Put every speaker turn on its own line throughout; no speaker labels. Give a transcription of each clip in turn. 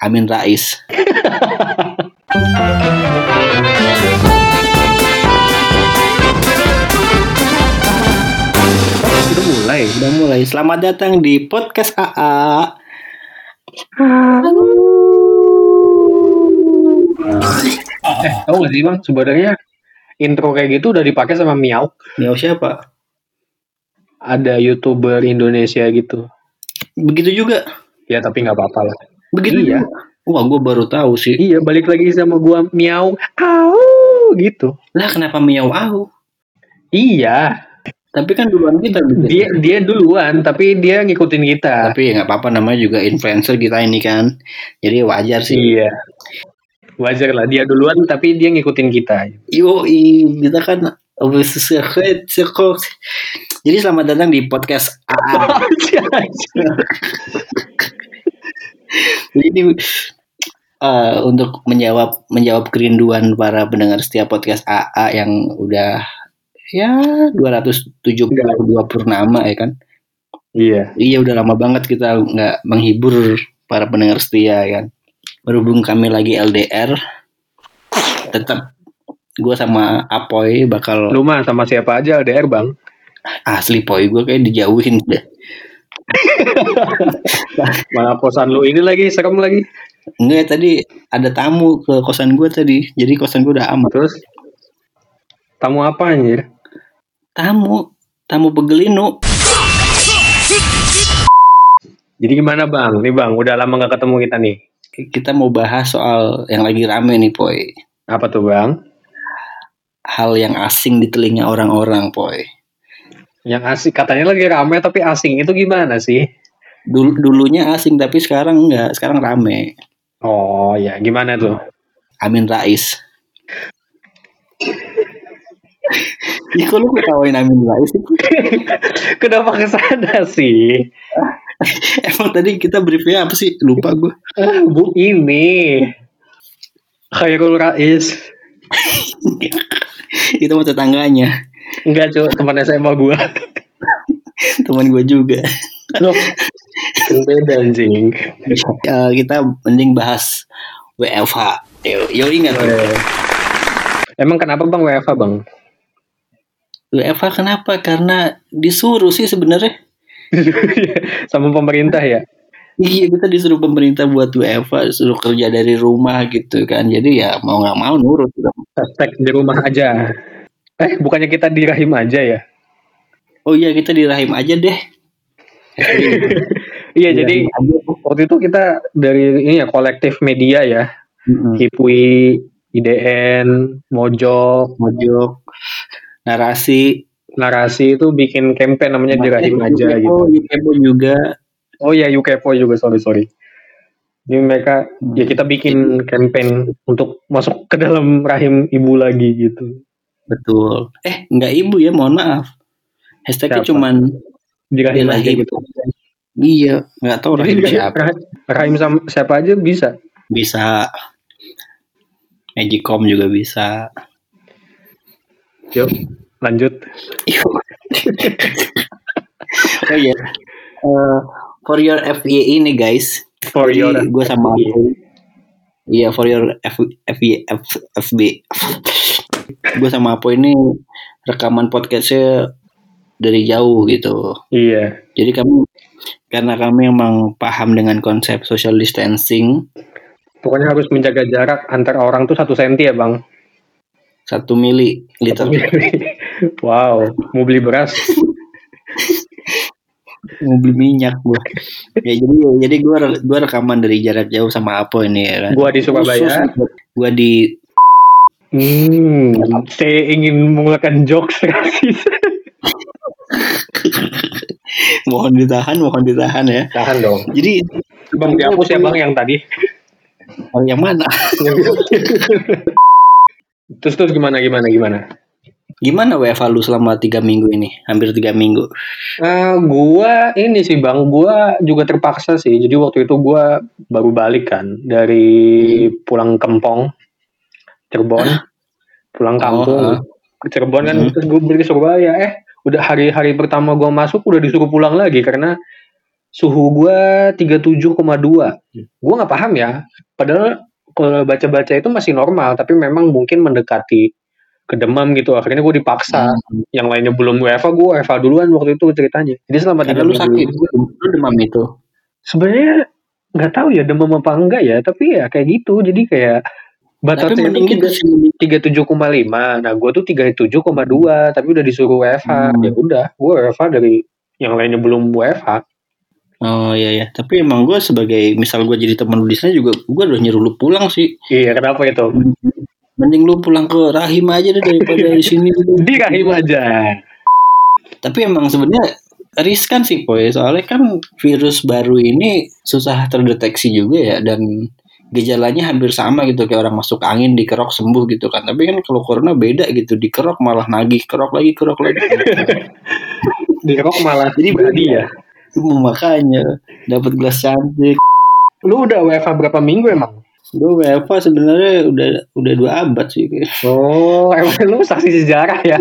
Amin Rais. Udah mulai, udah mulai. Selamat datang di podcast AA.
Eh, tahu gak sih bang? Sebenarnya intro kayak gitu udah dipakai sama Miau.
Miau siapa?
Ada youtuber Indonesia gitu.
Begitu juga.
Ya tapi nggak apa-apa lah.
Begitu
Iya.
juga. Wah, gue baru tahu sih.
Iya balik lagi sama gua Miau. Au gitu.
Lah, kenapa miau au?
Iya.
Tapi kan duluan kita bikin.
Dia dia duluan tapi dia ngikutin kita.
Tapi ya nggak apa-apa namanya juga influencer kita ini kan. Jadi wajar sih.
Iya. Wajar lah dia duluan tapi dia ngikutin kita.
Yo, kita kan jadi selamat datang di podcast AA. Jadi ini eh, untuk menjawab menjawab kerinduan para pendengar setiap podcast AA yang udah ya 272 purnama ya kan.
iya.
Iya udah lama banget kita nggak menghibur para pendengar setia kan. Berhubung kami lagi LDR, tetap gue sama Apoy bakal
Lu mah sama siapa aja LDR bang?
asli Poy gue kayak dijauhin deh.
Malah kosan lu ini lagi serem lagi.
Enggak tadi ada tamu ke kosan gue tadi, jadi kosan gue udah aman.
Terus tamu apa anjir?
Tamu, tamu pegelinu.
Jadi gimana bang? Nih bang, udah lama nggak ketemu kita nih.
Kita mau bahas soal yang lagi rame nih Poy.
Apa tuh bang?
Hal yang asing di telinga orang-orang Poy.
Yang asing katanya lagi rame tapi asing itu gimana sih?
Dul- dulunya asing tapi sekarang enggak, sekarang rame.
Oh ya gimana tuh?
Amin Rais. Ya kok lu ketawain Amin Rais sih?
Kenapa kesana sih?
Emang tadi kita briefnya apa sih? Lupa gue.
Ah, Bu ini Khairul Rais
Itu mah tetangganya.
Enggak cuy teman SMA gua
Teman gue juga.
Loh kan Beda anjing
Eh, kita mending bahas WFH. Yo, yo ingat.
Eh, Emang kenapa bang WFA bang?
WFH kenapa? Karena disuruh sih sebenarnya.
Sama pemerintah ya?
Iya kita disuruh pemerintah buat WFH, suruh kerja dari rumah gitu kan. Jadi ya mau nggak mau nurut.
Hashtag di rumah aja Eh bukannya kita di rahim aja ya?
Oh iya kita dirahim aja deh.
Iya jadi waktu itu kita dari ini ya kolektif media ya
Hmm. Mm-mm.
Hipwi IDN Mojo
Mojok, narasi,
narasi itu bikin campaign namanya dirahim aja gitu
Oh, Yukepo juga.
oh ya Yukepo juga sorry sorry jadi mereka ya
Hmm.
kita bikin campaign untuk masuk ke dalam rahim ibu lagi gitu
Betul. Eh, nggak ibu ya, mohon maaf. Hashtagnya
Siapa?
cuman
dirahim aja
dirahim.
gitu
Iya, nggak tahu
Jadi
rahim
dirahim-
siapa.
rahim- rahim sama siapa aja bisa
Bisa Magicom juga bisa.
yuk lanjut
oh iya. Eh, for your FYI ini guys.
for your
gue sama
FYI.
aku. Iya, for your F, FYI F, FB. gue sama Apo ini rekaman podcastnya dari jauh gitu.
iya
Jadi kami karena kami emang paham dengan konsep social distancing
pokoknya harus menjaga jarak antar orang tuh satu senti ya bang
satu mili liter.
wow mau beli beras
Mau beli minyak gua. ya jadi jadi gua gua rekaman dari jarak jauh sama Apo ini ya kan.
gua di Surabaya
Khusus gua di
Hmm, saya ingin mengeluarkan jokes rasis.
mohon ditahan, mohon ditahan ya.
Tahan dong.
Jadi
Bang dihapus ya bang yang tadi.
oh, yang mana?
terus terus gimana gimana gimana?
Gimana WFH lu selama tiga minggu ini? Hampir tiga minggu.
Eh, gua ini sih bang, gua juga terpaksa sih. Jadi waktu itu gua baru balik kan dari pulang kempong, Cirebon, pulang
Oh, ah.
kampung, ke Cirebon kan.
Hmm.
Terus gue beli ke Surabaya. Eh, udah hari-hari pertama gua masuk udah disuruh pulang lagi karena Suhu gua 37,2. Gua nggak paham ya. Padahal kalau baca-baca itu masih normal, tapi memang mungkin mendekati ke demam gitu. Akhirnya gue dipaksa. Yang lainnya belum UEFA, gue UEFA duluan waktu itu ceritanya. Jadi selama
Karena
tiga
lu
minggu-
sakit, lu demam itu.
Sebenarnya nggak tahu ya demam apa enggak ya, tapi ya kayak gitu. Jadi kayak
Tapi
batasnya
mending
itu
gitu sih. mending.
37,5. Nah, gue tuh 37,2, tapi udah disuruh UEFA.
Hmm.
Ya udah, gue UEFA dari yang lainnya belum UEFA.
Oh iya ya, tapi emang gue sebagai misal gue jadi teman lu di sana juga gue udah nyuruh lu pulang sih.
Iya, kenapa itu?
Mending lu pulang ke Rahim aja deh daripada di sini.
Di rahim aja.
Tapi emang sebenarnya riskan sih Poy, soalnya kan virus baru ini susah terdeteksi juga ya dan gejalanya hampir sama gitu kayak orang masuk angin dikerok sembuh gitu kan. Tapi kan kalau corona beda gitu, dikerok malah nagih, kerok lagi, kerok lagi.
Di rock malah
Jadi
jadi ya.
Itu makanya dapat gelas cantik.
Lu udah UEFA berapa minggu emang?
Gue WFA sebenarnya udah udah dua abad sih.
Oh, emang lu saksi sejarah ya?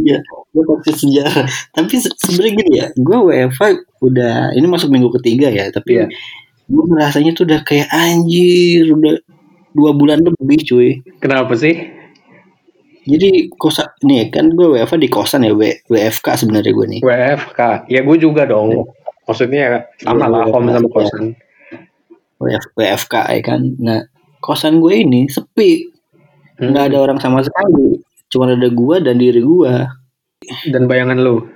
Iya, gue pasti sejarah. Tapi se- sebenarnya gini ya, gue WFA udah ini masuk minggu ketiga ya, tapi
Iya.
gue rasanya tuh udah kayak anjir, udah dua bulan lebih cuy.
Kenapa sih?
Jadi kosa nih kan gue WFA di kosan ya, W- WFK sebenarnya gue nih.
WFK. Ya gue juga dong. Maksudnya sama lah, home sama kosan.
WF- WFK ya kan. Nah kosan gue ini sepi,
Hmm.
nggak ada orang sama sekali, cuma ada gue dan diri gue.
Dan bayangan lu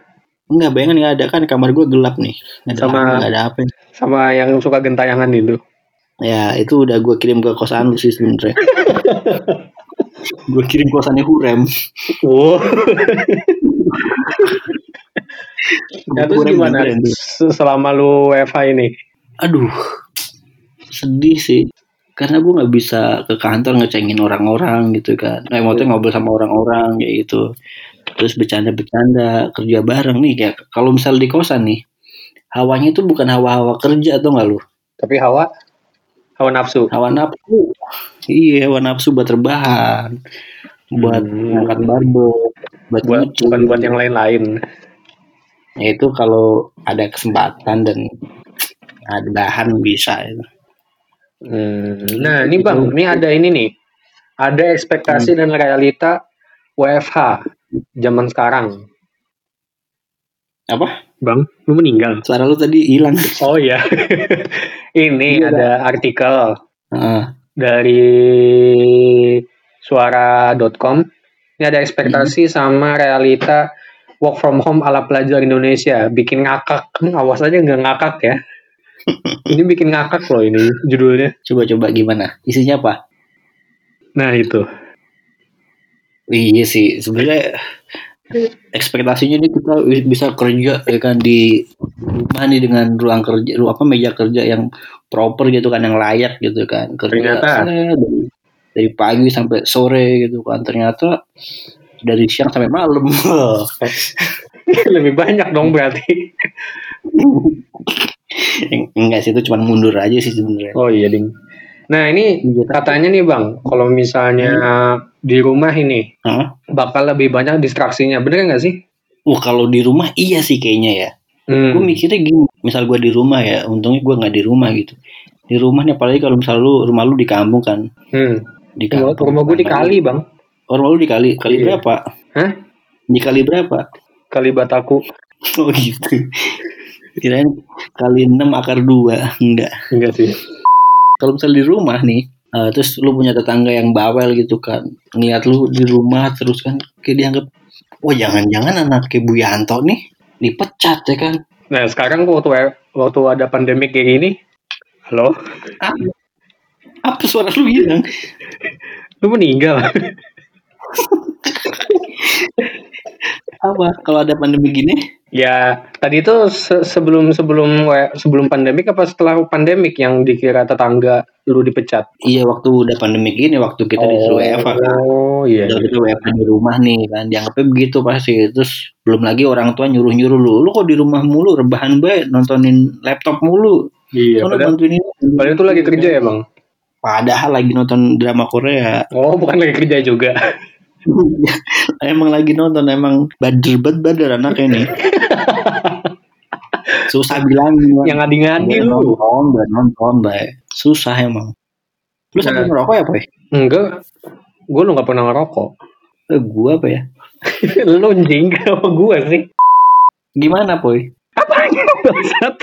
Enggak bayangin nggak ada kan kamar gue gelap nih, nggak ada,
Sama-
lampu, nggak ada apa.
sama yang suka gentayangan itu.
Ya itu udah gue kirim ke kosan lu sih sebenernya Gue kirim kosannya Hurem
Wow. Nah, terus
Kurang
gimana
beneran tuh.
se- selama lu WFH ini?
Aduh Sedih sih Karena gue gak bisa ke kantor ngecengin orang-orang gitu kan Nah
Iya.
maksudnya ngobrol sama orang-orang kayak gitu Terus bercanda-bercanda Kerja bareng nih kayak Kalau misal di kosan nih Hawanya itu bukan hawa-hawa kerja atau nggak lu
Tapi hawa hawa nafsu.
Hawa nafsu Iya hawa nafsu buat rebahan Buat
Hmm.
ngangkat barbel Buat,
Buat
nyuci. Ya
bukan buat yang lain-lain.
itu kalau ada kesempatan dan ada bahan bisa itu.
Nah, ini Bang, ini ada ini nih. Ada ekspektasi dan realita WFH zaman sekarang.
apa
Bang, lu meninggal.
suara lu tadi hilang
Oh iya. ini
Iya,
ada artikel
Heeh.
dari suara.com. Ini ada ekspektasi sama realita work from home ala pelajar Indonesia. Bikin ngakak. Hmm, awas aja nggak ngakak ya. ini bikin ngakak loh ini judulnya.
coba-coba gimana isinya apa
Nah itu.
iya sih sebenarnya ekspektasinya ini kita wi- bisa kerja ya kan di rumah nih dengan ruang kerja ru apa meja kerja yang proper gitu kan yang layak gitu kan kerja
Ternyata.
set, dari, dari pagi sampai sore gitu kan ternyata dari siang sampai malam
Lebih banyak dong berarti.
enggak sih itu cuma mundur aja sih sebenarnya
Oh iya ding. Nah ini
Iya, tapi-
katanya nih bang, kalau misalnya di rumah ini
Heeh.
bakal lebih banyak distraksinya, bener nggak sih?
Wah Oh, kalau di rumah iya sih kayaknya ya.
Hmm.
Gue mikirnya gini, misal gue di rumah ya, untungnya gue nggak di rumah gitu. Di rumah nih apalagi kalau misal lu rumah lu di kampung kan,
Hmm.
di
Rumah,
kampung.
rumah gue di kali bang.
Oh, rumah lu di kali, kali
Iya.
berapa?
Hah?
Di kali berapa?
Kali bataku.
Oh gitu. Kirain kali 6 akar 2 enggak.
Enggak sih.
Kalau misal di rumah nih, eh, terus lu punya tetangga yang bawel gitu kan, ngeliat lu di rumah terus kan kayak dianggap, wah jangan-jangan anak Bu Yanto nih dipecat ya kan?
Nah sekarang waktu waktu ada pandemik kayak gini, halo,
Apa, apa suara lu hilang?
lu meninggal.
apa kalau ada pandemi gini
ya tadi itu se- sebelum sebelum we- sebelum pandemik apa setelah pandemik yang dikira tetangga lu dipecat?
iya waktu udah pandemi gini waktu kita disuruh WFH kan
Oh iya.
Udah kita WFH di rumah nih kan dianggapnya begitu pasti terus belum lagi orang tua nyuruh nyuruh lu lu kok di rumah mulu rebahan baik nontonin laptop mulu
Iya.
Sono
Padahal,
bantuin ini.
padahal itu lagi kerja ya bang.
padahal lagi nonton drama Korea
Oh, bukan lagi kerja juga.
emang lagi nonton emang bader banget bader anak ini Susah bilang
yang ngadi-ngadi lu.
nonton, buat nonton, baik. Susah emang. Lu sambil
Nah.
ngerokok ya, Boy?
Enggak. Gue lu gak pernah ngerokok.
Eh, gua apa ya?
lu anjing apa gue sih?
Gimana, Boy?
Bangsat.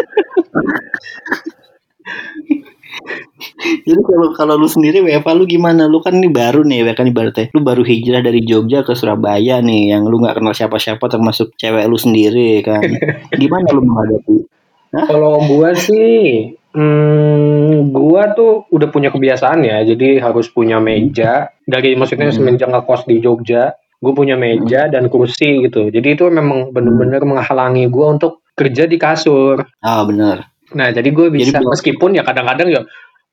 Jadi kalau kalau lu sendiri WFA lu gimana? Lu kan ini baru nih, WFA ini baru teh. Lu baru hijrah dari Jogja ke Surabaya nih, yang lu nggak kenal siapa-siapa termasuk cewek lu sendiri kan. Gimana lu menghadapi?
Kalau gua sih, hmm, gua tuh udah punya kebiasaan ya. Jadi harus punya meja. Dari maksudnya
Hmm.
semenjak ngekos di Jogja, gue punya meja dan kursi gitu. Jadi itu memang bener-bener menghalangi gua untuk kerja di kasur.
Ah, bener.
Nah jadi gue
Jadi
bisa
belum-
meskipun ya kadang-kadang ya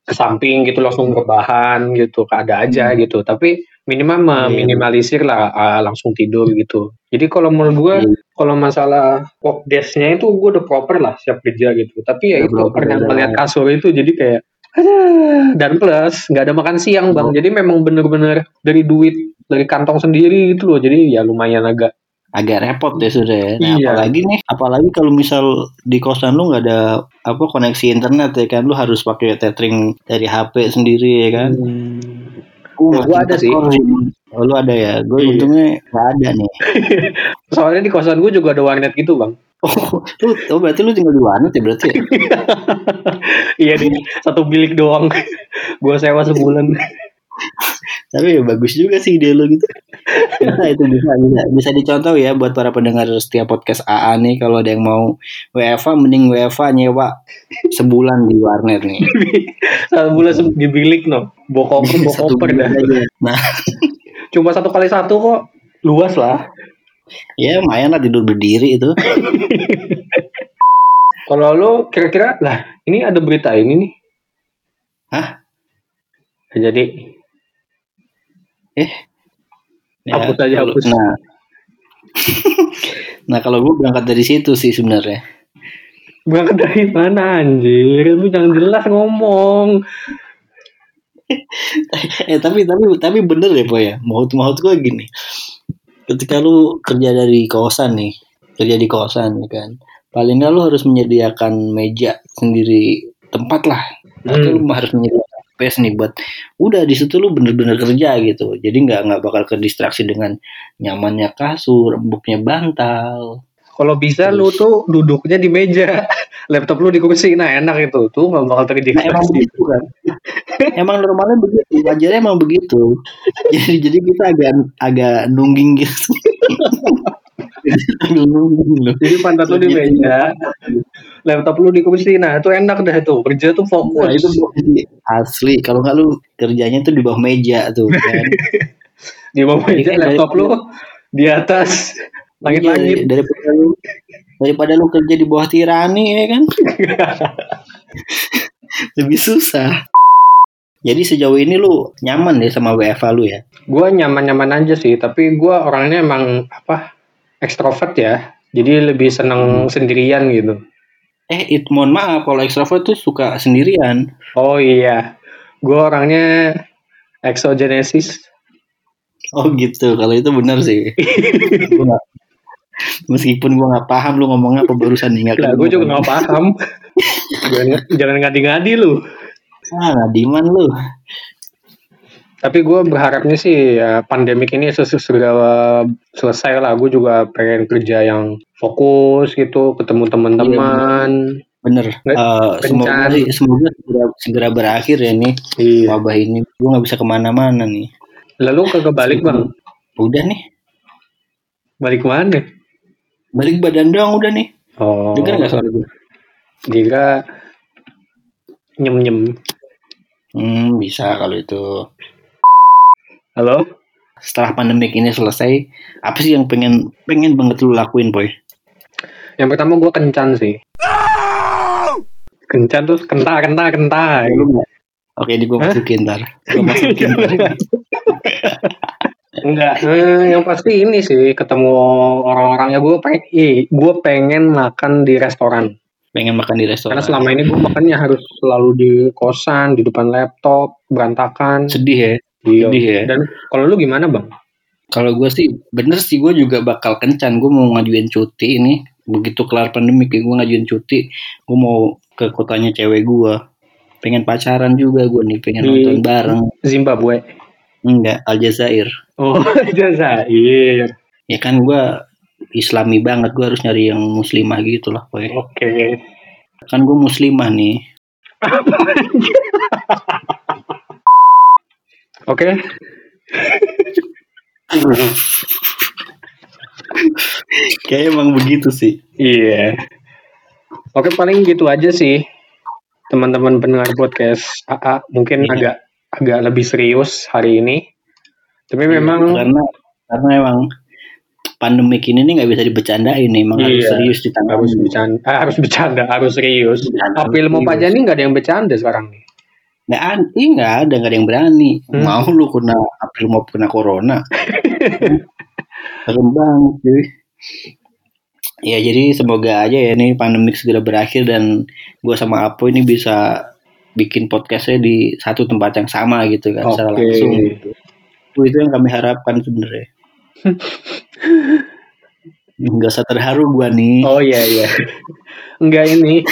ke samping gitu langsung rebahan gitu ada aja
Hmm.
gitu. Tapi minimal
Iya.
meminimalisir lah ah, langsung tidur gitu. Jadi kalau menurut gue
Iya.
kalau masalah pop desknya itu gue udah proper lah siap kerja gitu. Tapi ya
Udah
itu
proper,
pernah
udah.
melihat kasur itu jadi kayak "Aduh." dan plus nggak ada makan siang bang.
Oh.
Jadi memang bener-bener dari duit dari kantong sendiri gitu loh. Jadi ya lumayan agak
Agak repot ya sudah ya. Nah,
Iya.
apalagi nih, apalagi kalau misal di kosan lu nggak ada apa koneksi internet ya kan, lu harus pakai tethering dari HP sendiri ya kan.
Hmm. Nah, gua ada sih.
gitu Oh, lu ada ya? Gue
Iya.
untungnya nggak ada nih.
Soalnya di kosan gue juga ada warnet gitu bang.
Oh, lu, oh berarti lu tinggal di warnet ya berarti? ya?
Iya deh, satu bilik doang. gua sewa sebulan.
Tapi ya bagus juga sih ide lu gitu. Bisa itu bisa bisa bisa dicontoh ya buat para pendengar setiap podcast AA nih kalau ada yang mau WFA mending WFA nyewa sebulan di warnet nih.
satu bulan se- di bilik no. Bawa koper, bawa
Satu
koper dah.
bulan aja. Nah,
Cuma satu kali satu kok. Luas lah.
ya lumayan lah tidur berdiri itu.
Kalau lo kira-kira lah, ini ada berita ini nih.
Hah?
Jadi
Ya,
Hapus aja,
kalau-
hapus.
Nah, nah kalau gue berangkat dari situ sih sebenarnya.
berangkat dari mana anjir? Lu jangan jelas ngomong.
eh tapi tapi tapi bener ya po ya maut maut gue gini ketika lu kerja dari kosan nih kerja di kosan ya kan paling nggak lu harus menyediakan meja sendiri tempat lah atau lu harus menyediakan space nih buat udah di situ lu bener-bener kerja gitu jadi nggak nggak bakal ke distraksi dengan nyamannya kasur empuknya bantal
Kalau bisa lu tuh duduknya di meja, laptop lu di kursi. Nah, enak itu. Tuh nggak
nah, emang
bakal terdistraksi.
begitu kan emang normalnya begitu wajarnya emang begitu jadi jadi kita agak agak nungging gitu Sambil nungging loh.
Jadi pantat lu di
Iya.
meja, laptop lu di kursi. Nah, itu enak dah tuh. Kerja tuh fokus.
Nah, itu posisi asli. Kalau nggak lu kerjanya tuh di bawah meja tuh kan.
di bawah
Iya,
meja laptop
dari-
lu di atas
Iya,
langit-langit.
daripada lu daripada lu kerja di bawah tirani ya kan. Lebih susah. Jadi sejauh ini lu nyaman ya sama WFA lu ya?
Gua nyaman-nyaman aja sih, tapi gua orangnya emang apa ekstrovert ya. Jadi lebih seneng sendirian gitu.
Eh, it, mohon maaf kalau ekstrovert tuh suka sendirian.
Oh iya, gua orangnya exogenesis.
Oh gitu, kalau itu benar sih. Gua nggak- Meskipun gua nggak paham lu ngomongnya apa barusan nih nggak
Lah,
ketemu
gue juga
kan.
nggak paham. jangan, jangan ngadi-ngadi lu.
Ah, Ngadiman lu.
Tapi gue berharapnya sih ya, pandemik ini sesu- segera selesai lah. Gue juga pengen kerja yang fokus gitu, ketemu teman-teman.
Bener.
Nggak-
Eh, semoga
kencan.
sih- semoga segera, segera berakhir ya nih
Iya.
wabah ini. Gue nggak bisa kemana-mana nih.
Lalu kagak balik bang?
Udah nih.
Balik mana?
Balik badan doang udah nih.
Oh.
Dengar nggak suara gue?
Dira nyem nyem.
Hmm, bisa kalau itu.
Halo.
Setelah pandemik ini selesai, apa sih yang pengen pengen banget lu lakuin, boy?
Yang pertama gue kencan sih. Kencan terus kentah kentah kentah.
Lu nggak? Oke, ini gue
Hah?
masukin ntar. Gue masukin ntar.
Enggak. Eh, yang pasti ini sih ketemu orang-orangnya gue pengen. Gue pengen makan di restoran.
Pengen makan di restoran.
Karena selama ini gue makannya harus selalu di kosan, di depan laptop, berantakan.
Sedih ya.
Iya.
Sedih ya.
Dan kalau lu gimana bang?
Kalau gue sih bener sih gue juga bakal kencan. Gue mau ngajuin cuti ini begitu kelar pandemi kayak gue ngajuin cuti gue mau ke kotanya cewek gue pengen pacaran juga gue nih pengen
Di-
nonton bareng
Zimbabwe.
enggak Aljazair
Oh, Jazair.
ya kan gue islami banget gue harus nyari yang muslimah gitu lah
Oke.
pokoknya. kan gue muslimah nih
Oke.
kayak emang begitu sih
Iya. Oke paling gitu aja sih teman-teman pendengar podcast AA mungkin
Iya.
agak agak lebih serius hari ini. Tapi memang
karena karena emang pandemik ini nih nggak bisa dibecandain nih emang harus
Iya,
serius ditangani
harus bercanda, eh, harus bercanda, harus serius.
Bercanda,
Apil mau
serius.
pajak ini nggak ada yang bercanda sekarang nih.
nggak Nah, an- ih, nggak ada nggak ada yang berani
Hmm.
mau lu kena April mau kena corona serem banget cuy ya jadi semoga aja ya ini pandemik segera berakhir dan gua sama Apo ini bisa bikin podcastnya di satu tempat yang sama gitu kan secara
Oke.
langsung gitu. itu yang kami harapkan sebenarnya nggak usah terharu gua nih
Oh iya iya. Enggak ini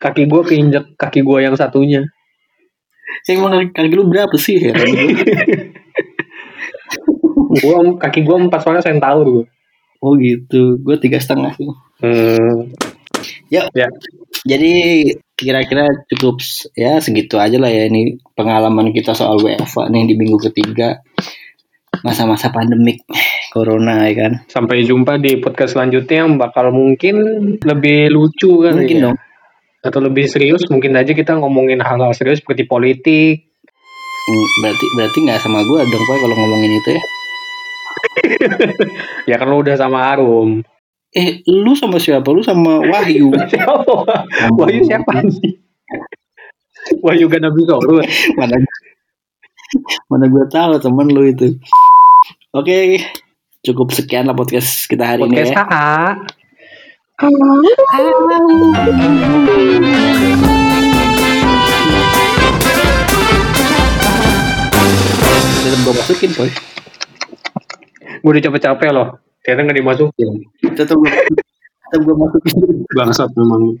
kaki gue keinjek kaki gue yang satunya.
saya mau kaki lu berapa sih ya? heran
Gua kaki gue empat soalnya sentaur gue.
oh gitu gua tiga setengah sih
Hmm.
Ya.
Ya.
Jadi kira-kira cukup s- ya segitu aja lah ya ini pengalaman kita soal WFA nih di minggu ketiga masa-masa pandemik corona ya kan.
Sampai jumpa di podcast selanjutnya yang bakal mungkin lebih lucu kan
Mungkin dong.
atau lebih serius mungkin aja kita ngomongin hal-hal serius seperti politik.
Hmm, Berarti berarti nggak sama gua dong Pak kalau ngomongin itu ya.
Ya kan lu udah sama Arum.
Eh lu sama siapa? Lu sama Wahyu.
Siapa? Wahyu siapa sih? Wahyu gak nabi sorot.
mana mana gua tahu temen lu itu. Oke, cukup sekian lah podcast kita hari ini
Podcast
ya.
AA.
Tetep gua masukin, Boy.
Gue udah capek-capek loh. Ternyata gak dimasukin.
Tetep gua tetep gua masukin.
Bangsat memang.